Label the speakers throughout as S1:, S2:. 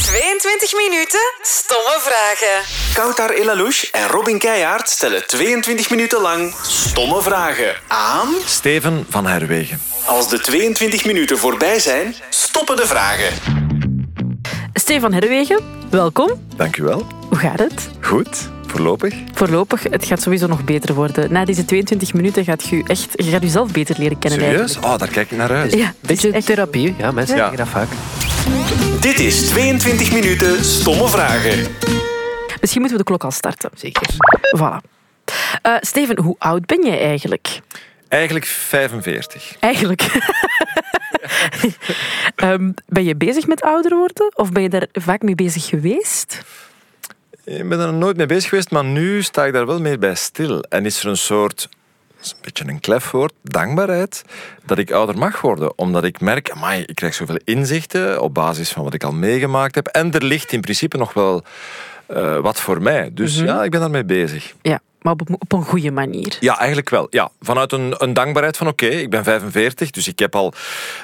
S1: 20 minuten stomme vragen.
S2: Koutar Elalouche en Robin Keijaard stellen 22 minuten lang stomme vragen aan.
S3: Steven van Herwegen.
S2: Als de 22 minuten voorbij zijn, stoppen de vragen.
S4: Stefan Herwegen, welkom.
S3: Dank u wel.
S4: Hoe gaat het?
S3: Goed, voorlopig.
S4: Voorlopig, het gaat sowieso nog beter worden. Na deze 22 minuten gaat je echt, je gaat jezelf beter leren kennen.
S3: Serieus? Oh, daar kijk ik naar uit.
S4: eigenlijk. Ja,
S5: Beetje
S4: het is echt-
S5: therapie, ja, mensen
S3: Ja.
S5: zeggen dat vaak.
S2: Dit is 22 minuten stomme vragen.
S4: Misschien moeten we de klok al starten.
S5: Zeker.
S4: Voilà. Eh, Steven, hoe oud ben jij eigenlijk?
S3: Eigenlijk 45.
S4: Eigenlijk. Ehm, ben je bezig met ouder worden? Of ben je daar vaak mee bezig geweest?
S3: Ik ben er nog nooit mee bezig geweest, maar nu sta ik daar wel meer bij stil. En is er een soort, dat is een beetje een klef woord, dankbaarheid, dat ik ouder mag worden. Omdat ik merk, amai, ik krijg zoveel inzichten op basis van wat ik al meegemaakt heb. En er ligt in principe nog wel eh, wat voor mij. Dus ja, ik ben daarmee bezig.
S4: Ja, maar op, op een goede manier.
S3: Ja, eigenlijk wel. Ja, vanuit een, een dankbaarheid van oké, ik ben 45, dus ik heb al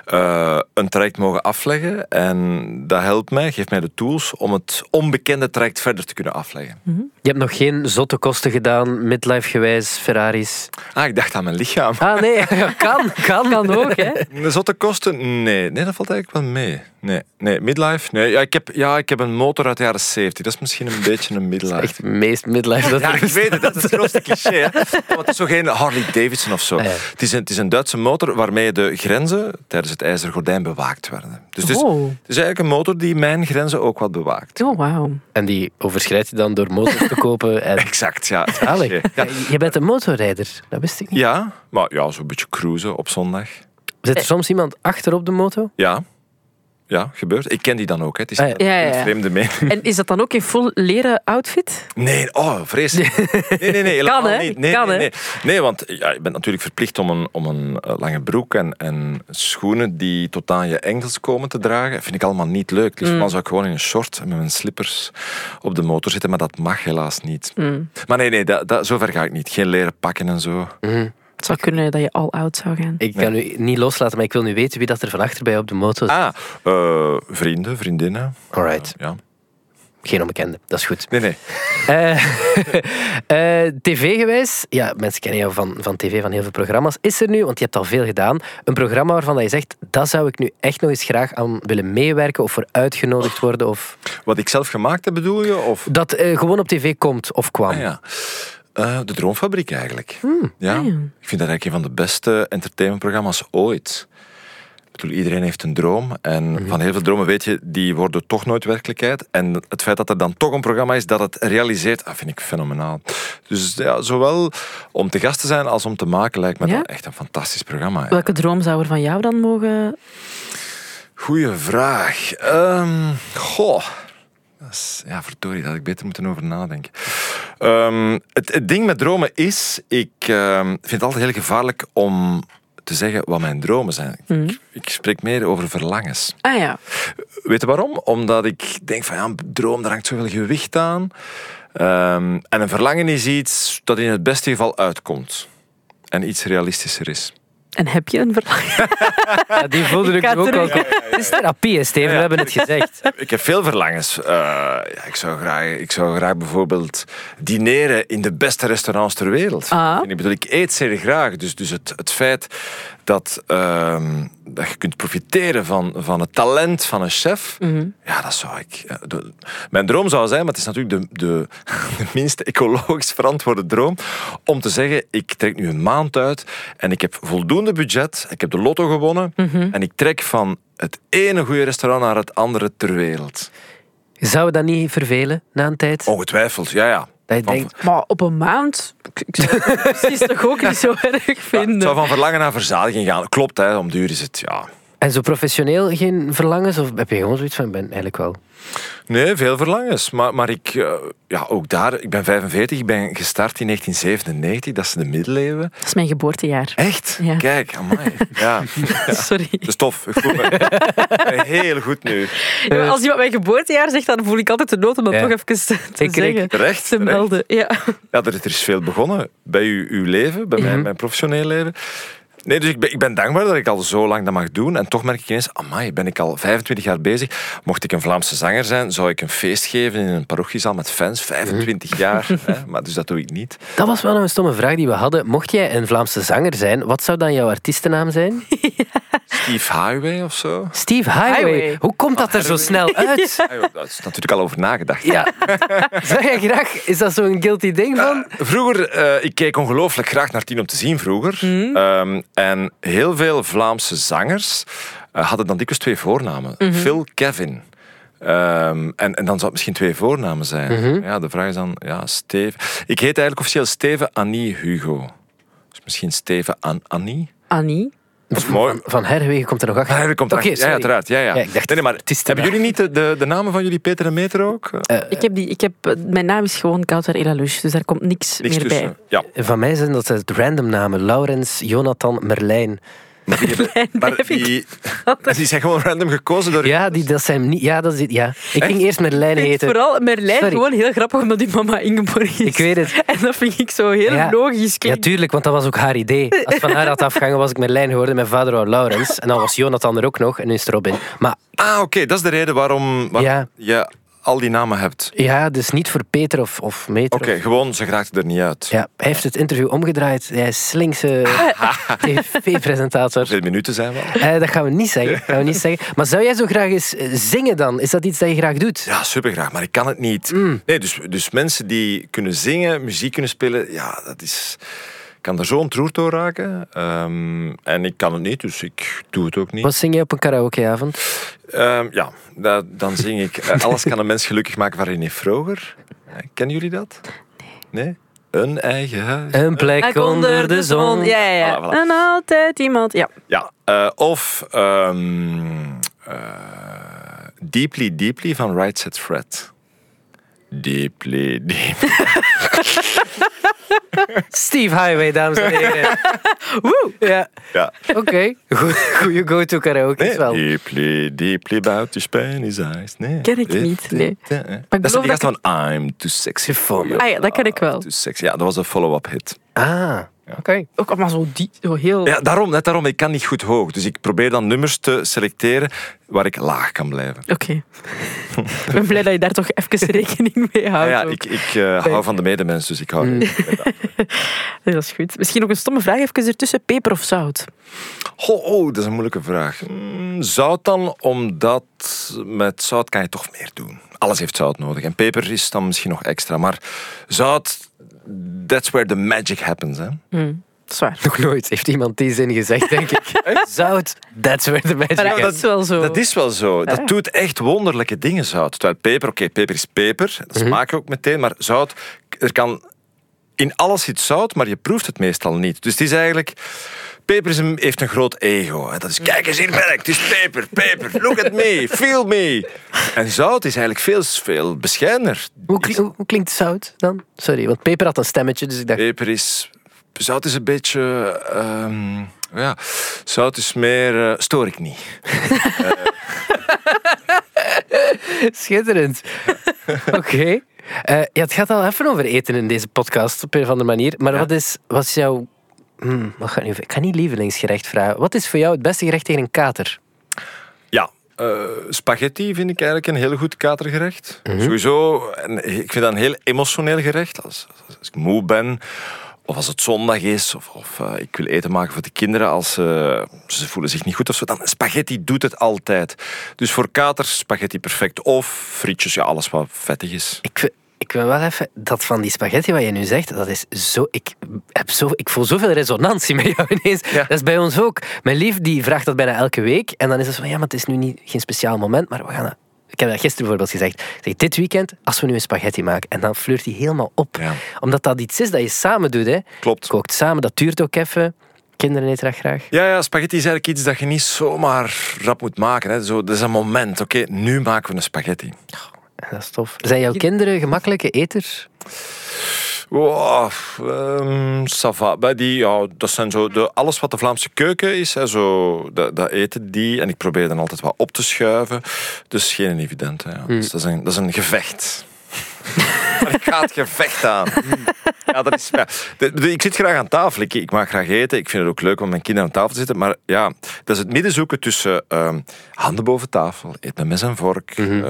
S3: eh, een traject mogen afleggen. En dat helpt mij, geeft mij de tools om het onbekende traject verder te kunnen afleggen.
S5: Je hebt nog geen zotte kosten gedaan, midlife-gewijs, Ferraris.
S3: Ah, ik dacht aan mijn lichaam.
S5: Ah nee, ja, kan, kan.
S4: Kan ook, hè?
S3: De zotte kosten? Nee, nee, dat valt eigenlijk wel mee. Nee, nee midlife? Nee, ja, ik heb, ja, ik heb een motor uit de jaren 70. Dat is misschien een beetje een midlife.
S5: Echt het meest midlife dat
S3: Ja, ik
S5: er
S3: weet het, dat is het grootste cliché. Hè? Want het is zo geen Harley Davidson of zo.
S5: ja.
S3: Het, is een, het is een Duitse motor waarmee de grenzen tijdens het ijzeren gordijn bewaakt werden. Dus het is,
S4: Wow.
S3: het is eigenlijk een motor die mijn grenzen ook wat bewaakt.
S4: Oh, wauw.
S5: En die overschrijd je dan door motors te kopen. En...
S3: Exact, ja. het cliché.
S5: Alec,
S3: Ja,
S5: je bent een motorrijder. Dat wist ik niet.
S3: ja, maar ja, zo'n beetje cruisen op zondag.
S5: Zit er soms iemand achter op de moto?
S3: Ja. Ja, gebeurt. Ik ken die dan ook. Hè. Het is
S5: Ah, ja.
S3: een
S4: Ja, ja, ja.
S3: vreemde mening.
S4: En is dat dan ook in vol leren outfit?
S3: Nee, oh, vreselijk. Nee, nee, nee, helemaal
S4: Kan, hè?
S3: niet. Nee,
S4: Kan,
S3: nee,
S4: hè?
S3: nee. Nee, want ja, je bent natuurlijk verplicht om een, om een eh, lange broek en, en schoenen die tot aan je enkels komen te dragen. Dat vind ik allemaal niet leuk. Het liefst
S4: Mm.
S3: dan zou ik gewoon in een short en met mijn slippers op de motor zitten, maar dat mag helaas niet.
S4: Mm.
S3: Maar nee, nee, dat, dat, zover ga ik niet. Geen leren pakken en zo.
S4: Het zou kunnen dat je al oud zou gaan.
S5: Ik kan u niet loslaten, maar ik wil nu weten wie dat er van achter bij op de moto zit.
S3: Ah, eh, vrienden, vriendinnen.
S5: Alright,
S3: Ja.
S5: geen onbekende. Dat is goed.
S3: Nee, nee.
S5: Eh, eh, TV-gewijs, ja, mensen kennen jou van, van tv, van heel veel programma's. Is er nu, want je hebt al veel gedaan, een programma waarvan je zegt, dat zou ik nu echt nog eens graag aan willen meewerken of voor uitgenodigd worden? Of
S3: Wat ik zelf gemaakt heb, bedoel je? Of?
S5: dat eh, gewoon op tv komt of kwam?
S3: Ah, ja. Eh, de Droomfabriek eigenlijk. ja. Ik vind dat eigenlijk een van de beste entertainmentprogramma's ooit. Ik bedoel, iedereen heeft een droom. En van heel veel dromen weet je, die worden toch nooit werkelijkheid. En het feit dat er dan toch een programma is dat het realiseert, dat vind ik fenomenaal. Dus ja, zowel om te gast te zijn als om te maken lijkt me
S4: Ja?
S3: dat echt een fantastisch programma. ja.
S4: Welke droom zou er van jou dan mogen...
S3: Goeie vraag. Ehm, goh. Dat is- Ja, verdorie, daar had ik beter moeten over nadenken. Ehm, het, het ding met dromen is, ik ehm, vind het altijd heel gevaarlijk om te zeggen wat mijn dromen zijn. Ik, ik spreek meer over verlangens.
S4: Ah ja.
S3: Weet je waarom? Omdat ik denk van ja, een droom, daar hangt zoveel gewicht aan. Ehm, en een verlangen is iets dat in het beste geval uitkomt. En iets realistischer is.
S4: En heb je een verlangen?
S5: Ja, die voelde
S4: Ik
S5: ik
S4: ga
S5: nu ook al.
S4: terug.
S5: komen. Het is therapie, hè, Steven, we hebben het gezegd.
S3: Ik heb veel verlangens. Eh, ja, ik, zou graag, ik zou graag bijvoorbeeld dineren in de beste restaurants ter wereld.
S4: Ah.
S3: En ik bedoel, ik eet zeer graag. Dus, dus het, het feit dat, ehm, dat je kunt profiteren van, van het talent van een chef. Ja, dat zou ik. eh, de- mijn droom zou zijn, maar het is natuurlijk de, de, de minst ecologisch verantwoorde droom. Om te zeggen, ik trek nu een maand uit en ik heb voldoende budget. Ik heb de lotto gewonnen.
S5: Mhm.
S3: En ik trek van het ene goede restaurant naar het andere ter wereld.
S5: Zou dat niet vervelen na een tijd?
S3: Ongetwijfeld, ja, ja.
S5: Dat je
S3: Van-
S5: denkt,
S4: Maar op een maand? Ik- Ik zou het precies toch ook niet zo erg
S3: Ja, het
S4: vinden.
S3: zou van verlangen naar verzadiging gaan. Klopt, hè, om duur is het. Ja.
S5: en zo professioneel geen verlangens? Of heb je gewoon zoiets van, ik ben eigenlijk wel...
S3: Nee, veel verlangens. Maar, maar ik, eh, ja, ook daar, ik ben 45, ik ben gestart in 1997, dat is de middeleeuwen.
S4: Dat is mijn geboortejaar.
S3: Echt?
S4: Ja.
S3: Kijk, amai. Ja, dat
S4: Sorry.
S3: is tof. Ik voel me, ik ben heel goed nu.
S4: Ja, Als iemand mijn geboortejaar zegt, dan voel ik altijd de nood om dat
S5: Ja.
S4: toch even te te
S5: Ik kreeg-
S4: zeggen.
S3: Terecht,
S4: Te
S3: terecht.
S4: melden. Ja.
S3: Ja, er, er is veel begonnen bij uw, uw leven, bij mijn, mijn professioneel leven. Nee, dus ik ben, ik ben dankbaar dat ik al zo lang dat mag doen. En toch merk ik ineens, amai, ben ik al 25 jaar bezig. Mocht ik een Vlaamse zanger zijn, zou ik een feest geven in een parochiezaal met fans. 25 jaar. Hè? Maar dus dat doe ik niet.
S5: Dat was wel nog een stomme vraag die we hadden. Mocht jij een Vlaamse zanger zijn, wat zou dan jouw artiestennaam zijn?
S3: Steve Highway of zo.
S5: Steve Highway.
S4: Highway.
S5: Hoe komt
S3: Oh,
S5: dat er zo snel uit?
S3: Ah, joh, Daar is natuurlijk al over nagedacht.
S5: Ja. Zou jij graag... Is dat zo'n guilty ding van?
S3: Vroeger, eh, ik keek ongelooflijk graag naar Tien om te zien vroeger.
S5: Mhm.
S3: Ehm, en heel veel Vlaamse zangers eh, hadden dan dikwijls twee voornamen.
S5: Mhm.
S3: Phil, Kevin. Ehm, en, en dan zou het misschien twee voornamen zijn.
S5: Mhm.
S3: Ja, de vraag is dan, ja, Steven. Ik heet eigenlijk officieel Steven Annie Hugo. Dus misschien Steven An Annie.
S4: Annie?
S3: Dat is mooi.
S5: Van Herwegen komt er nog achter.
S3: Ah, dat komt
S5: Oké,
S3: erachter. ja, ja,
S5: sorry.
S3: uiteraard. Ja, ja.
S5: Ja, ik dacht,
S3: nee, nee, maar
S5: het is te
S3: hebben jullie niet de, de, de namen van jullie Peter en Meter ook? Eh,
S4: Ik heb die, ik heb, mijn naam is gewoon Kouter Elalouche, dus daar komt niks,
S3: niks
S4: meer bij.
S3: tussen. Ja.
S5: Van mij zijn dat het random namen. Laurens, Jonathan, Merlijn.
S3: Maar die, die zijn gewoon random gekozen door
S5: Ja, die, dat zijn niet... Ja, dat is... Ja. Ik ging eerst Merlijn
S4: Ik vind
S5: heten.
S4: vooral Merlijn
S5: Sorry.
S4: gewoon heel grappig omdat die mama Ingeborg is.
S5: Ik weet het.
S4: En dat vind ik zo heel
S5: Ja.
S4: logisch
S5: Ja,
S4: klinken.
S5: tuurlijk, want dat was ook haar idee. Als van haar had afgehangen, was ik Merlijn geworden. Mijn vader wou Laurens. En dan was Jonathan er ook nog. En nu is het Robin. Maar
S3: Ah, oké, dat is de reden waarom, waarom
S5: Ja.
S3: je al die namen hebt.
S5: ja, dus niet voor Peter of, of Meter.
S3: Oké, gewoon, ze raakten er niet uit.
S5: Ja, hij heeft het interview omgedraaid. Hij is slinkse tv-presentator.
S3: Hoeveel minuten zijn we al?
S5: Eh, dat gaan we, niet zeggen. dat gaan we niet zeggen. Maar zou jij zo graag eens eh, zingen dan? Is dat iets dat je graag doet?
S3: Ja, supergraag, maar ik kan het niet.
S5: Mm.
S3: Nee, dus, dus mensen die kunnen zingen, muziek kunnen spelen, ja, dat is... Ik kan er zo ontroerd door raken. Ehm, en ik kan het niet, dus ik doe het ook niet.
S5: Wat zing jij op een karaokeavond?
S3: Ehm, ja, da- dan zing ik eh, Alles kan een mens gelukkig maken van René Vroger. Eh, kennen jullie dat? Nee. Nee? Een eigen huis.
S5: Een plek onder de zon.
S4: Ja, ja, ja.
S3: Voilà, voilà.
S4: En altijd iemand. Ja.
S3: Ja, eh, of ehm, eh, Deeply Deeply van Right Said Fred. Deeply Deeply.
S5: Steve Highway, dames en heren. Woe! Ja,
S3: Ja.
S5: oké. Goe- Goeie go-to karaoke
S3: Nee,
S5: is wel.
S3: Deeply Deeply about to span his eyes. Nee.
S4: Ken ik niet, nee.
S3: Eh, eh.
S4: Maar ik
S3: Dat is
S4: geloof
S3: de
S4: dat
S3: eerste van I'm too sexy for you.
S4: Ah ja, dat ken ik wel.
S3: Too sexy. Ja, dat was een follow-up hit.
S5: Ah, oké.
S4: Ook allemaal zo, die, zo heel...
S3: Ja, daarom, net daarom, ik kan niet goed hoog. Dus ik probeer dan nummers te selecteren waar ik laag kan blijven.
S4: Oké. ik ben blij dat je daar toch even rekening mee
S3: Ja,
S4: houdt.
S3: ja
S4: ook.
S3: ik, ik eh, hou van de medemens, dus ik hou met dat.
S4: Ja, Dat is goed. Misschien ook een stomme vraag even ertussen. Peper of zout?
S3: Goh, oh, dat is een moeilijke vraag. Mm, zout dan, omdat met zout kan je toch meer doen. Alles heeft zout nodig. En peper is dan misschien nog extra. Maar zout, that's where the magic happens. Hè?
S4: Dat is waar.
S5: Nog nooit heeft iemand die zin gezegd, denk ik. Zout, that's where the magic
S4: Maar Oh, dat
S5: happens.
S4: is wel zo. Ah.
S3: Dat is wel zo. Dat doet echt wonderlijke dingen, zout. Terwijl peper, oké, peper is peper. Dat
S4: Mhm.
S3: smaak je ook meteen. Maar zout, er kan... In alles zit zout, maar je proeft het meestal niet. Dus het is eigenlijk... Peper is een- heeft een groot ego. Hè. Dat is, kijk eens, hier ben ik. Het is peper, peper. Look at me, feel me. En zout is eigenlijk veel, veel bescheidener.
S5: Hoe, kli- hoe- hoe klinkt zout dan? Sorry, want Peper had een stemmetje, dus ik dacht...
S3: Peper is... Zout is een beetje... ehm, ja, zout is meer... eh, stoor ik niet.
S5: Schitterend. Oké. Eh, ja, het gaat al even over eten in deze podcast, op een of andere manier. Maar wat, is, wat is jouw... Hmm, wat ga ik, nu, ik ga niet lievelingsgerecht vragen. Wat is voor jou het beste gerecht tegen een kater?
S3: Ja. eh, spaghetti vind ik eigenlijk een heel goed katergerecht. Sowieso, en ik vind dat een heel emotioneel gerecht. Als, als, als ik moe ben, of als het zondag is, of, of eh, ik wil eten maken voor de kinderen als ze- ze voelen zich niet goed of zo, dan spaghetti doet het altijd. Dus voor katers, spaghetti perfect. Of frietjes, ja, alles wat vettig is.
S5: Ik, wil- ik wil wel even... Dat van die spaghetti wat je nu zegt, dat is zo... Ik, heb zo, ik voel zoveel resonantie met jou ineens.
S3: Ja.
S5: Dat is bij ons ook. Mijn lief die vraagt dat bijna elke week. En dan is het zo van, ja, maar het is nu niet, geen speciaal moment, maar we gaan... dat- Ik heb dat gisteren bijvoorbeeld gezegd. Ik Zeg, dit weekend, als we nu een spaghetti maken. En dan flirt hij helemaal op.
S3: Ja.
S5: Omdat dat iets is dat je samen doet. Hè.
S3: Klopt.
S5: Kookt samen, dat duurt ook even. Kinderen eten dat graag.
S3: Ja, ja, spaghetti is eigenlijk iets dat je niet zomaar rap moet maken. Hè. Zo, dat is een moment. Oké, nu maken we een spaghetti.
S5: En dat is tof. Zijn jouw kinderen gemakkelijke eters?
S3: Wow, ehm ça va. Bij die, ja, dat zijn zo de, alles wat de Vlaamse keuken is, hè, zo, dat, dat eten die. En ik probeer dan altijd wat op te schuiven. Dus geen evidente. Ja. Dus dat, is een, dat is een gevecht. Er gaat gevecht aan. Ja, dat is, ja. De- de- Ik zit graag aan tafel. Ik, ik maak graag eten. Ik vind het ook leuk om met mijn kinderen aan tafel te zitten. Maar ja, dat is het midden zoeken tussen ehm, handen boven tafel, eet met mes en vork.
S4: Mhm.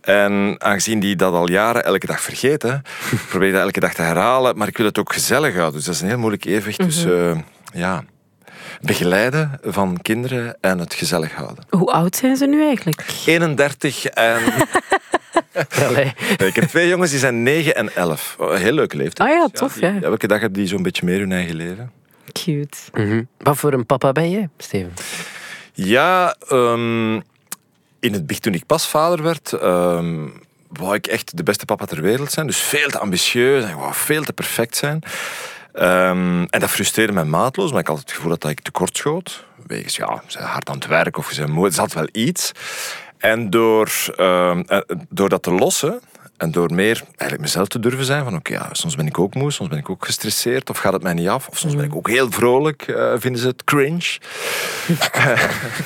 S3: eh, en aangezien die dat al jaren elke dag vergeten, probeer ik dat elke dag te herhalen. Maar ik wil het ook gezellig houden. Dus dat is een heel moeilijk evenwicht
S4: Mhm.
S3: tussen eh, ja, begeleiden van kinderen en het gezellig houden.
S4: Hoe oud zijn ze nu eigenlijk?
S3: 31 en...
S5: Allee.
S3: Nee, Ik heb twee jongens, die zijn 9 en 11. Oh, Een heel leuke leeftijd.
S4: Ah ja, tof,
S3: die-
S4: ja.
S3: Elke dag hebben die zo'n beetje meer hun eigen leven.
S4: Cute.
S5: Mhm. Wat voor een papa ben jij, Steven?
S3: Ja, ehm, in het begin toen ik pas vader werd, ehm wou ik echt de beste papa ter wereld zijn. Dus veel te ambitieus en ik wou veel te perfect zijn. Ehm, en dat frustreerde mij maatloos, maar ik had het gevoel dat ik tekort schoot. Wegens, ja, ze zijn hard aan het werk of ze zijn moe. Er zat wel iets. En door, ehm, eh, door dat te lossen en door meer eigenlijk mezelf te durven zijn van oké, ja, soms ben ik ook moe, soms ben ik ook gestresseerd of gaat het mij niet af. Of soms ben ik ook heel vrolijk, eh, vinden ze het cringe.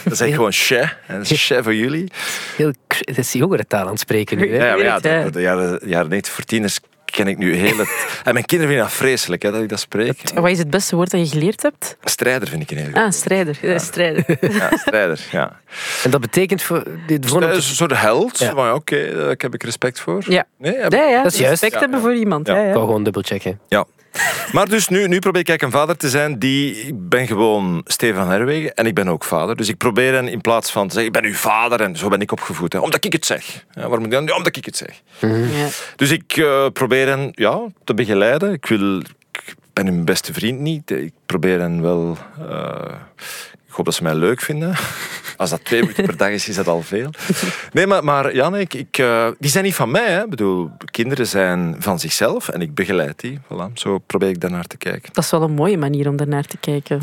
S3: Dat is echt gewoon chef. En dat is chef voor jullie.
S5: Heel, cr- het is jongere taal aan het spreken nu.
S3: Ja,
S5: Hè?
S3: maar ja,
S4: weet het,
S3: de, de jaren, de jaren 90 voor tieners ken ik nu heel het... En mijn kinderen vinden dat vreselijk, hè, dat ik dat spreek.
S4: Wat is het beste woord dat je geleerd hebt?
S3: Strijder vind ik een heel goed.
S4: Ah, strijder. Ja, strijder.
S3: Ja, strijder, ja.
S5: En dat betekent voor... Dit, voor
S3: Dat is een soort held.
S5: Ja.
S3: Maar ja, oké, daar heb ik respect voor.
S4: Ja.
S3: Nee, heb-
S4: Ja, ja.
S5: Dat is juist.
S4: Respect
S3: Ja,
S4: hebben
S3: ja.
S4: voor iemand.
S3: Ja.
S4: Ja, ja.
S5: Ik wou gewoon dubbelchecken.
S3: Ja. Maar dus nu, nu probeer ik eigenlijk een vader te zijn die... Ik ben gewoon Stefan Herwegen en ik ben ook vader. Dus ik probeer hen in plaats van te zeggen, ik ben uw vader en zo ben ik opgevoed. Hè, omdat ik het zeg. Ja, waarom moet ik dan? Ja, omdat ik het zeg.
S4: Ja.
S3: Dus ik eh, probeer hen ja, te begeleiden. Ik, wil, ik ben hun beste vriend niet. Ik probeer hen wel. eh, ik hoop dat ze mij leuk vinden. Als dat twee minuten per dag is, is dat al veel. Nee, maar, maar Jan, ik, ik, eh, die zijn niet van mij. Hè. Ik bedoel, kinderen zijn van zichzelf en ik begeleid die. Voilà, zo probeer ik daarnaar te kijken.
S4: Dat is wel een mooie manier om daarnaar te kijken.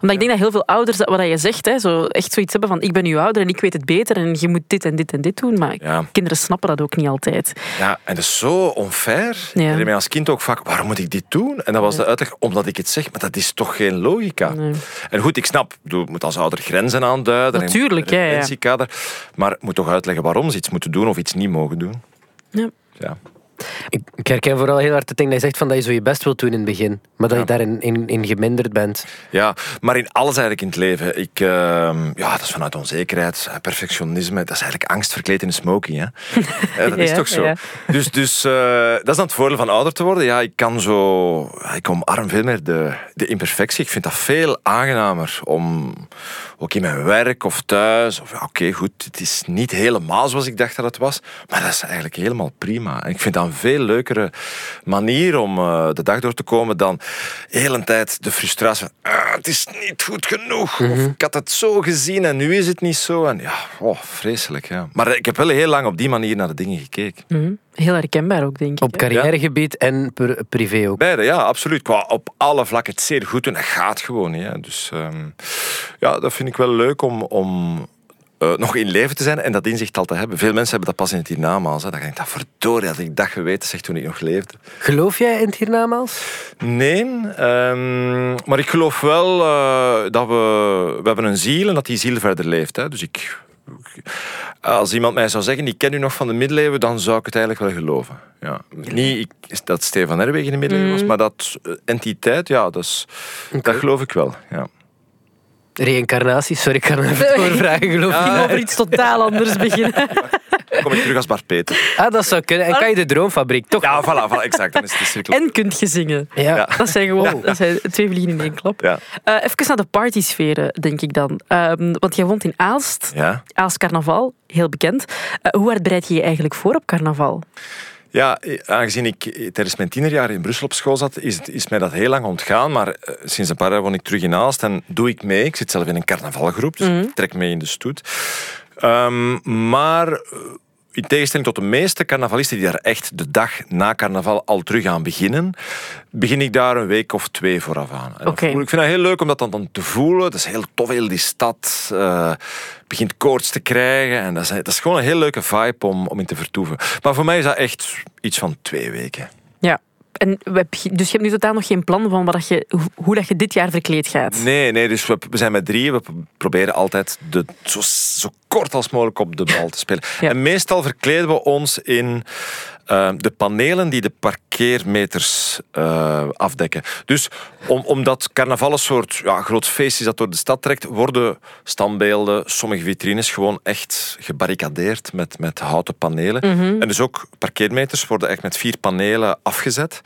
S4: Omdat ik denk dat heel veel ouders, dat- wat je zegt, hè, zo echt zoiets hebben van ik ben uw ouder en ik weet het beter en je moet dit en dit en dit doen. Maar
S3: Ja.
S4: kinderen snappen dat ook niet altijd.
S3: Ja, en dat is zo onfair.
S4: Ja.
S3: Ik herinner mij als kind ook vaak, waarom moet ik dit doen? En dat was de uitleg, omdat ik het zeg. Maar dat is toch geen logica.
S4: Nee.
S3: En goed, ik snap, ik bedoel, je moet als ouder grenzen aanduiden. en
S4: Natuurlijk,
S3: een
S4: ja, ja.
S3: referentiekader. Maar je moet toch uitleggen waarom ze iets moeten doen of iets niet mogen doen.
S4: Ja.
S3: Ja.
S5: Ik, ik herken vooral heel hard het ding dat je zegt van dat je zo je best wilt doen in het begin. Maar dat je daarin in, in geminderd bent.
S3: Ja, maar in alles eigenlijk in het leven. Ik, ehm, ja, dat is vanuit onzekerheid, eh, perfectionisme. Dat is eigenlijk angst verkleed in een smoking. Hè? Eh, dat is
S4: Ja,
S3: toch zo?
S4: ja.
S3: Dus, dus eh, dat is dan het voordeel van ouder te worden. Ja, ik kan zo... ja, Ik omarm veel meer de, de imperfectie. Ik vind dat veel aangenamer om... Ook in mijn werk of thuis. Of, ja, Oké, goed, het is niet helemaal zoals ik dacht dat het was. Maar dat is eigenlijk helemaal prima. En ik vind dat een veel leukere manier om eh, de dag door te komen dan de hele tijd de frustratie van... "Ah, het is niet goed genoeg. Of ik had het zo gezien en nu is het niet zo. En ja, oh, vreselijk. Ja. Maar ik heb wel heel lang op die manier naar de dingen gekeken.
S4: Mhm. Heel herkenbaar ook, denk ik.
S5: Op
S4: hè.
S5: carrièregebied en per, privé ook.
S3: Beide, ja, absoluut. Qua op alle vlakken het zeer goed doen. Dat gaat gewoon niet. Hè. Dus ehm, ja, dat vind ik wel leuk om, om eh, nog in leven te zijn en dat inzicht al te hebben. Veel mensen hebben dat pas in het hiernamaals. Hè. Dan denk ik, dat verdorie had ik dat geweten zeg, toen ik nog leefde.
S5: Geloof jij in het hiernamaals?
S3: Nee, ehm, maar ik geloof wel eh, dat we... We hebben een ziel en dat die ziel verder leeft. Hè. Dus ik... Als iemand mij zou zeggen, ik ken u nog van de middeleeuwen, dan zou ik het eigenlijk wel geloven. Ja. Niet ik, dat Stefan Herweg in de middeleeuwen was, maar dat eh, entiteit, ja, dat, is, dat geloof ik wel. Ja.
S5: Reïncarnatie? Sorry, ik kan even doorvragen. Geloof
S4: Ik
S5: je?
S4: ging over iets totaal anders beginnen.
S3: Dan kom ik terug als Bart Peter.
S5: Ah, dat zou kunnen. En kan je de droomfabriek toch?
S3: Ja, voilà, voilà exact. Dan is het de cirkel.
S4: En kunt je zingen.
S5: Ja.
S3: Ja.
S4: Dat zijn gewoon dat zijn twee vliegen in één klap.
S3: Ja.
S4: Eh, even naar de partysferen, denk ik dan. Ehm, want jij woont in Aalst.
S3: Ja.
S4: Aalst Carnaval, heel bekend. Eh, hoe hard bereid je je eigenlijk voor op carnaval?
S3: Ja, eh, aangezien ik eh, tijdens mijn tienerjaren in Brussel op school zat, is, het- is mij dat heel lang ontgaan. Maar eh, sinds een paar jaar woon ik terug in Aalst en doe ik mee. Ik zit zelf in een carnavalgroep, dus ik trek mee in de stoet. Ehm, maar eh, in tegenstelling tot de meeste carnavalisten die daar echt de dag na carnaval al terug aan beginnen, begin ik daar een week of twee vooraf aan. En dat
S4: Oké.
S3: voel ik ik vind dat heel leuk om dat dan, dan te voelen. Dat is heel tof, heel die stad eh, begint koorts te krijgen. En dat, is, dat is gewoon een heel leuke vibe om, om in te vertoeven. Maar voor mij is dat echt iets van twee weken.
S4: Ja. En we heb je- dus je hebt nu totaal nog geen plan van wat dat je, hoe- hoe dat je dit jaar verkleed gaat?
S3: Nee, nee dus we, we zijn met drieën. We p- proberen altijd de, zo, zo kort als mogelijk op de bal te spelen.
S4: Ja.
S3: En meestal verkleden we ons in eh, eh, de panelen die de parkeermeters eh, afdekken. Dus om, omdat carnaval een soort ja, groot feest is dat door de stad trekt, worden standbeelden, sommige vitrines gewoon echt gebarricadeerd met, met houten panelen. En dus ook parkeermeters worden echt met vier panelen afgezet.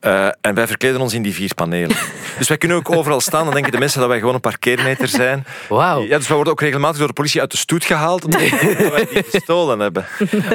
S3: Eh, en wij verkleden ons in die vier panelen. dus wij kunnen ook overal staan. Dan denken de mensen dat wij gewoon een parkeermeter zijn.
S5: Wauw.
S3: Ja, dus wij worden ook regelmatig door de politie uit de stoet gehaald. Omdat wij die gestolen hebben.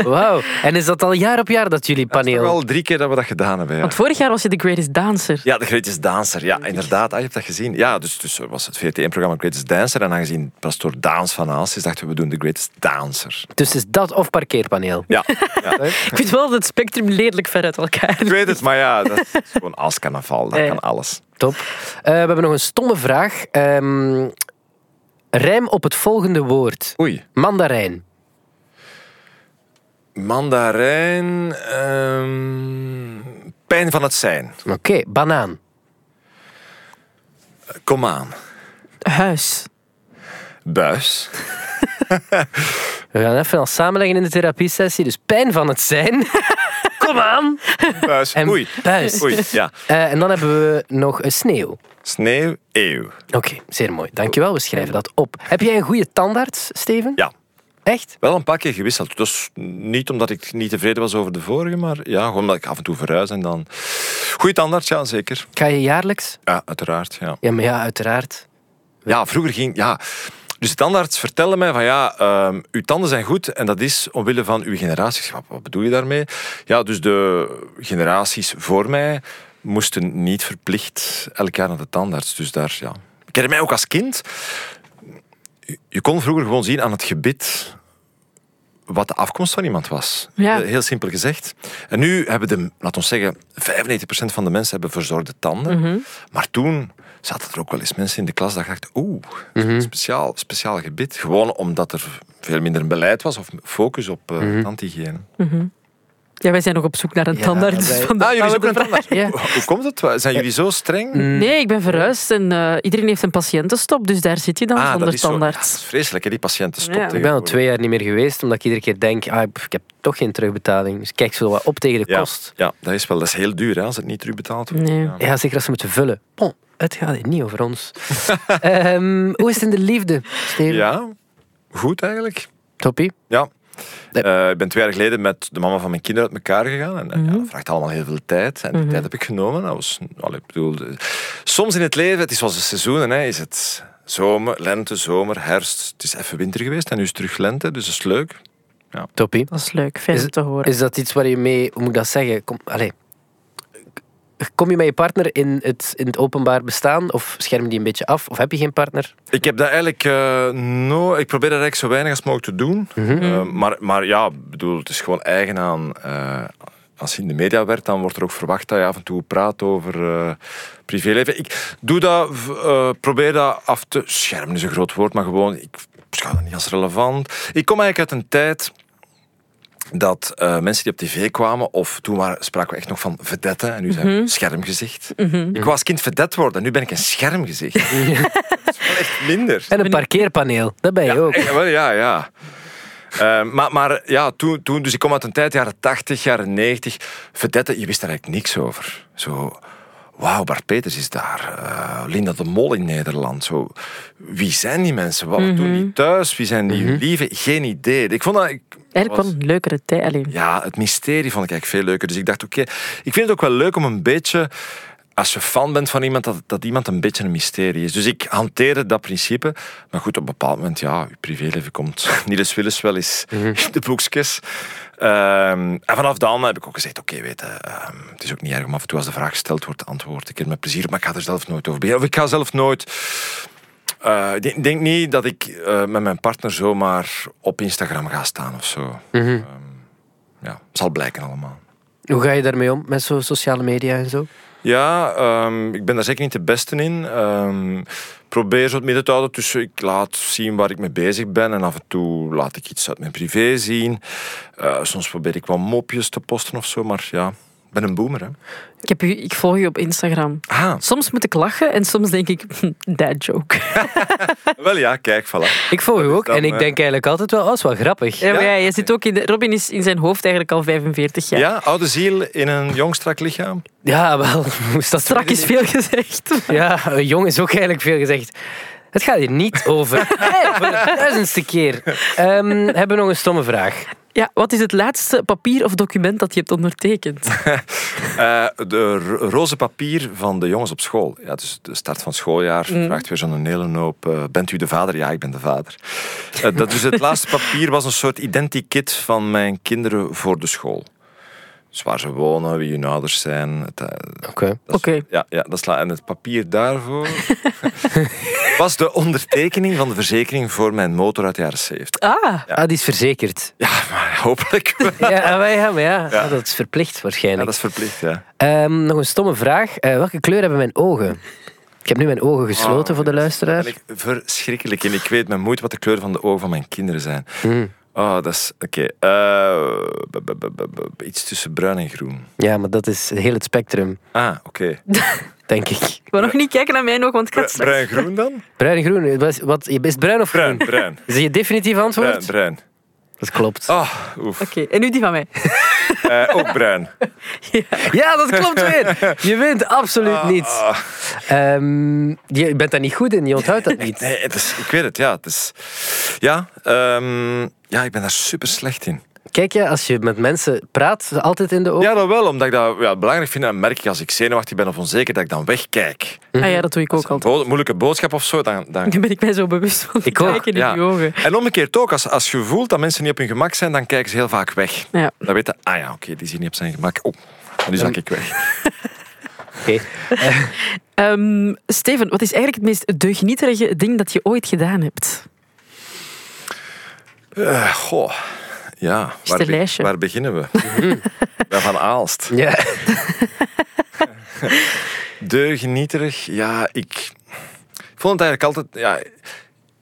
S5: Wauw. En is dat al jaar op jaar dat jullie
S3: Het is toch
S5: paneel...
S3: al drie keer dat we dat gedaan hebben. Ja,
S4: Want vorig jaar was je de greatest dancer.
S3: ja de Greatest Dancer. Ja, inderdaad. Ah, je hebt dat gezien. Ja, dus, dus er was het VRT1-programma Greatest Dancer. En aangezien pastoor Daans van Aas is, dachten we, we doen de Greatest Dancer.
S5: Dus is dat of parkeerpaneel?
S3: Ja, ja.
S4: Ik vind wel dat het spectrum lelijk ver uit elkaar
S3: ik
S4: ligt.
S3: weet het. Maar ja, dat is gewoon Aas carnaval. Dat
S4: Ja.
S3: kan alles.
S5: Top. Eh, we hebben nog een stomme vraag. Ehm, rijm op het volgende woord.
S3: Oei.
S5: Mandarijn.
S3: Mandarijn. ehm, pijn van het zijn.
S5: Oké, banaan.
S3: Kom aan.
S4: Huis.
S3: Buis.
S5: We gaan even al samenleggen in de therapiesessie. Dus pijn van het zijn. Kom aan.
S3: Buis.
S5: En
S3: Oei.
S5: buis.
S3: Oei, ja.
S5: Eh, en dan hebben we nog eh, sneeuw.
S3: Sneeuw. Eeuw.
S5: Oké, zeer mooi. Dankjewel, we schrijven dat op. Heb jij een goede tandarts, Steven?
S3: Ja.
S5: Echt?
S3: Wel een paar keer gewisseld. Dus niet omdat ik niet tevreden was over de vorige, maar ja, gewoon omdat ik af en toe verhuis en dan... Goeie tandarts, ja, zeker.
S5: Ga je jaarlijks?
S3: Ja, uiteraard, ja.
S5: Ja, maar ja, uiteraard.
S3: Ja, vroeger ging... Ja. Dus de tandarts vertelde mij van ja, ehm, uw tanden zijn goed en dat is omwille van uw generatie. Ik zeg, Wat, wat bedoel je daarmee? Ja, dus de generaties voor mij moesten niet verplicht elk jaar naar de tandarts. Dus daar, ja. Ik herinner mij ook als kind... Je kon vroeger gewoon zien aan het gebit wat de afkomst van iemand was.
S4: Ja.
S3: Eh, Heel simpel gezegd. En nu hebben de, laat ons zeggen, 95% van de mensen hebben verzorgde tanden.
S4: Mhm.
S3: Maar toen zaten er ook wel eens mensen in de klas dat dachten, oeh,
S4: Mhm.
S3: speciaal, speciaal gebit. Gewoon omdat er veel minder beleid was of focus op eh
S4: Mhm.
S3: tandhygiëne.
S4: Ja, wij zijn nog op zoek naar een
S5: Ja,
S4: tandarts.
S5: wij-
S4: van de Mm.
S3: Ah, jullie zijn ook een
S4: oude
S3: tandarts. Hmm.
S5: Ja.
S3: Hoe- Hoe komt het? Wa- Zijn jullie zo streng?
S4: Nee, ik ben verhuisd en eh, iedereen heeft een patiëntenstop, dus daar zit je dan
S3: Ah, dat
S4: zonder
S3: is, zo, ja, dat
S4: tandarts.
S3: is vreselijk, hè, die patiënten
S4: Ja.
S3: stopt
S4: Ik
S5: Ik ben al twee jaar niet meer geweest, omdat ik iedere keer denk, ah, pff, ik heb toch geen terugbetaling. Dus ik kijk zo wat op tegen de
S3: ja,
S5: kost.
S3: ja, dat is wel dat is heel duur hè, als het niet terugbetaald wordt.
S4: Nee.
S3: Ja.
S5: Ja, zeker als ze moeten vullen. Bon, het gaat hier niet over ons. Ehm, hoe is het in de liefde, Steven?
S3: ja, goed eigenlijk.
S5: Toppie?
S3: Ja.
S5: Nee.
S3: Eh, ik ben twee jaar geleden met de mama van mijn kinderen uit elkaar gegaan. En, en ja, dat vraagt allemaal heel veel tijd. En die tijd heb ik genomen. Dat was, allee, ik bedoel, eh, soms in het leven, het is zoals de seizoenen, hè, is het zomer, lente, zomer, herfst. Het is even winter geweest en nu is het terug lente, dus dat is leuk.
S5: Toppie?
S4: Dat is leuk, fijn om te horen.
S5: Is dat iets waar je mee, hoe moet ik dat zeggen? Kom, allez. Kom je met je partner in het, in het openbaar bestaan? Of scherm je die een beetje af? Of heb je geen partner?
S3: Ik heb dat eigenlijk... eh, no, ik probeer dat eigenlijk zo weinig als mogelijk te doen. Eh, maar, maar ja, ik bedoel, het is gewoon eigen aan... eh, als je in de media werkt, dan wordt er ook verwacht dat je af en toe praat over eh, privéleven. Ik doe dat, v- eh, probeer dat af te... Schermen is een groot woord, maar gewoon... Ik beschouw dat niet als relevant. Ik kom eigenlijk uit een tijd dat eh, mensen die op tv kwamen, of toen waren, spraken we echt nog van vedette, en nu zijn we schermgezicht. Ik was kind vedet worden, en nu ben ik een schermgezicht. dat is wel echt minder.
S5: En een parkeerpaneel, dat ben je ook.
S3: Ja, wel, ja. ja. Eh, maar maar ja, toen, toen, dus ik kom uit een tijd, jaren 80, jaren 90. Vedette, je wist daar eigenlijk niks over. Zo, wauw, Bart Peters is daar. eh, Linda de Mol in Nederland. Zo, wie zijn die mensen? Wat doen die thuis? Wie zijn die lieven? Geen idee. Ik vond dat... Ik,
S4: Eigenlijk
S3: was-
S4: wel een leukere tijd. Alleen.
S3: ja, het mysterie vond ik eigenlijk veel leuker. Dus ik dacht, oké, ik vind het ook wel leuk om een beetje... Als je fan bent van iemand, dat, dat iemand een beetje een mysterie is. Dus ik hanteerde dat principe. Maar goed, op een bepaald moment, ja, je privéleven komt Niels Willis wel eens in de boekjes. Ehm, en vanaf dan heb ik ook gezegd, oké, weet je, ehm, het is ook niet erg om af en toe als de vraag gesteld wordt, antwoord ik er met plezier op, maar ik ga er zelf nooit over beginnen. Of ik ga zelf nooit eh, ik denk- denk niet dat ik eh, met mijn partner zomaar op Instagram ga staan of zo. Ehm, ja, zal blijken allemaal.
S5: Hoe ga je daarmee om met zo sociale media en zo?
S3: Ja, ehm, ik ben daar zeker niet de beste in. Ehm, probeer zo het midden te houden tussen ik laat zien waar ik mee bezig ben en af en toe laat ik iets uit mijn privé zien. Eh, soms probeer ik wel mopjes te posten of zo, maar ja, ben een boomer, hè.
S4: Ik, heb u, ik volg je op Instagram.
S3: Ah,
S4: Soms moet ik lachen en soms denk ik, dad joke.
S3: wel ja, kijk, voilà.
S5: Ik volg u ook
S3: dan,
S5: en ik
S3: eh,
S5: denk eigenlijk altijd wel, oh, is wel grappig.
S4: Ja, maar ja, je zit ook in de, Robin is in zijn hoofd eigenlijk al 45
S3: Ja.
S4: jaar.
S3: oude ziel in een jong strak lichaam.
S5: Ja, wel. Moest dat
S4: Strak is veel gezegd.
S5: Ja, eh, jong is ook eigenlijk veel gezegd. Het gaat hier niet over. Hey, voor de duizendste keer. Ehm, hebben we nog een stomme vraag?
S4: Ja, wat is het laatste papier of document dat je hebt ondertekend?
S3: Eh, de ro- roze papier van de jongens op school. Ja, dus de start van het schooljaar vraagt weer zo'n hele hoop. eh, bent u de vader? Ja, ik ben de vader. Eh, dat, dus het laatste papier was een soort identikit van mijn kinderen voor de school. Dus waar ze wonen, wie hun ouders zijn. Het, eh,
S5: Oké.
S3: dat is-
S4: Oké.
S3: Ja, ja, dat is la- en het papier daarvoor was de ondertekening van de verzekering voor mijn motor uit de jaren 70.
S4: Ah,
S5: Ah, die is verzekerd.
S3: Ja, maar hopelijk. wel.
S5: Ja, ah, maar ja, maar ja. Ah, dat is verplicht
S3: Ja,
S5: waarschijnlijk.
S3: dat is verplicht, ja.
S5: Ehm, nog een stomme vraag. Eh, welke kleur hebben mijn ogen? Ik heb nu mijn ogen gesloten
S3: Oh,
S5: voor de luisteraar.
S3: En ik, verschrikkelijk. En ik weet met moeite wat de kleur van de ogen van mijn kinderen zijn. Oh, dat is... Oké. eh, b- b- b- b- b- iets tussen bruin en groen.
S5: Ja, maar dat is heel het spectrum,
S3: Ah, oké.
S5: denk ik.
S4: ik wil nog niet kijken naar mijn oog, want ik ga het straks...
S3: Bruin-groen dan?
S5: Bruin en groen. Wat, is- wat, is het bruin of groen?
S3: Bruin, bruin.
S5: Is dat je definitief antwoord?
S3: Bruin, bruin.
S5: Dat klopt.
S3: Oh, oef.
S4: Oké, en nu die van mij.
S3: Eh, ook bruin.
S5: Ja, dat klopt weer. Je wint absoluut niet.
S3: Ah.
S5: Ehm, je bent daar niet goed in, je onthoudt dat niet.
S3: Nee, het is, ik weet het, ja. Het is, ja, ehm, ja, ik ben daar super slecht in.
S5: Kijk, ja, als je met mensen praat, altijd in de ogen.
S3: Ja, dat wel, omdat ik dat ja, belangrijk vind. En dan merk ik als ik zenuwachtig ben of onzeker, dat ik dan wegkijk.
S4: Ah ja, dat doe ik ook altijd.
S3: Bo- moeilijke boodschap of zo, dan, dan
S4: Daar ben ik mij zo bewust van.
S5: Ik ook,
S4: Kijken in die ogen.
S3: En omgekeerd ook, als, als je voelt dat mensen niet op hun gemak zijn, dan kijken ze heel vaak weg.
S4: Ja.
S3: Dan weten, ah ja, oké, die zit niet op zijn gemak. Oh, nu zak ik weg.
S5: Oké.
S4: Ehm, Steven, wat is eigenlijk het meest deugnieterige ding dat je ooit gedaan hebt?
S3: Eh, goh, ja. Waar,
S4: een
S3: be-
S4: lijstje.
S3: waar beginnen we? Ja, van Aalst.
S5: Ja.
S3: Deugnieterig, ja, ik vond het eigenlijk altijd... Ja,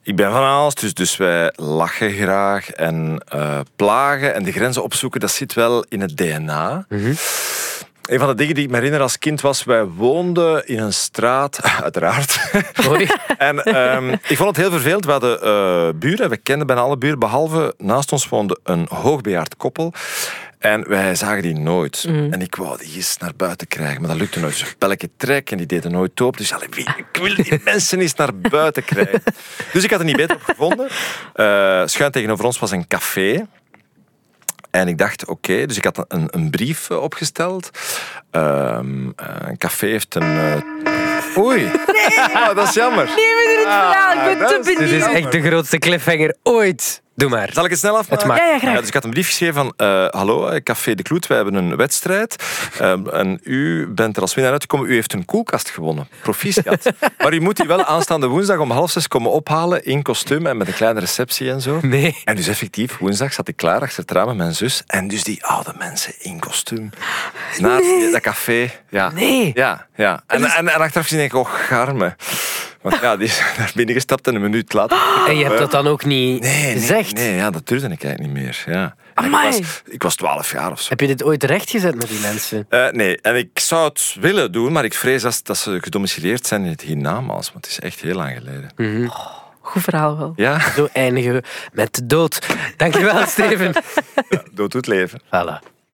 S3: ik ben van Aalst, dus, dus wij lachen graag en eh, plagen en de grenzen opzoeken, dat zit wel in het DNA. Een van de dingen die ik me herinner als kind was, wij woonden in een straat, uiteraard,
S5: Oei.
S3: En ehm, ik vond het heel vervelend. We hadden eh, buren, we kenden bijna alle buren, behalve naast ons woonde een hoogbejaard koppel. En wij zagen die nooit. En ik wou die eens naar buiten krijgen, maar dat lukte nooit. Ze belletje trek en die deden nooit open. Dus allee, wie, ik wil die mensen eens naar buiten krijgen. Dus ik had er niet beter op gevonden. Eh, schuin tegenover ons was een café. En ik dacht, oké, dus ik had een, een brief eh, opgesteld. Ehm, eh, een café heeft een... eh, Oei! Oh, dat is jammer. Ah.
S4: Ja, ik ben
S3: dat
S4: te
S3: is- dit
S4: benieuwd.
S5: Dit is echt de grootste cliffhanger ooit. Doe maar.
S3: Zal ik het snel afmaken?
S5: Het mag. Ja,
S4: ja, graag.
S3: dus ik had een brief geschreven van... eh, Hallo, eh, Café de Kloet, wij hebben een wedstrijd. Ehm, en u bent er als winnaar uitgekomen. U heeft een koelkast gewonnen. Proficiat. maar u moet die wel aanstaande woensdag om half zes komen ophalen. In kostuum en met een kleine receptie en zo.
S5: Nee.
S3: En dus effectief, woensdag zat ik klaar achter het raam met mijn zus. En dus die oude mensen in kostuum. Naar dat café. Ja.
S5: Nee.
S3: Ja, ja. En,
S4: dus-
S3: en, en achteraf gezien denk ik, oh, garme. Want ja, die is naar binnen gestapt en een minuut later...
S5: En je hebt dat dan ook niet
S3: Nee, nee,
S5: gezegd.
S3: nee ja, dat durfde ik eigenlijk niet meer. Ja. En
S4: Amai.
S3: Ik, was, ik was 12 jaar of zo.
S5: Heb je dit ooit rechtgezet met die mensen?
S3: Eh, nee, en ik zou het willen doen, maar ik vrees dat, dat ze gedomicileerd zijn in het hiernamaals, want het is echt heel lang geleden.
S4: Goed verhaal wel.
S3: Ja,
S5: Zo eindigen we met de dood. Dankjewel, Steven.
S3: dood doet leven.
S5: Voilà.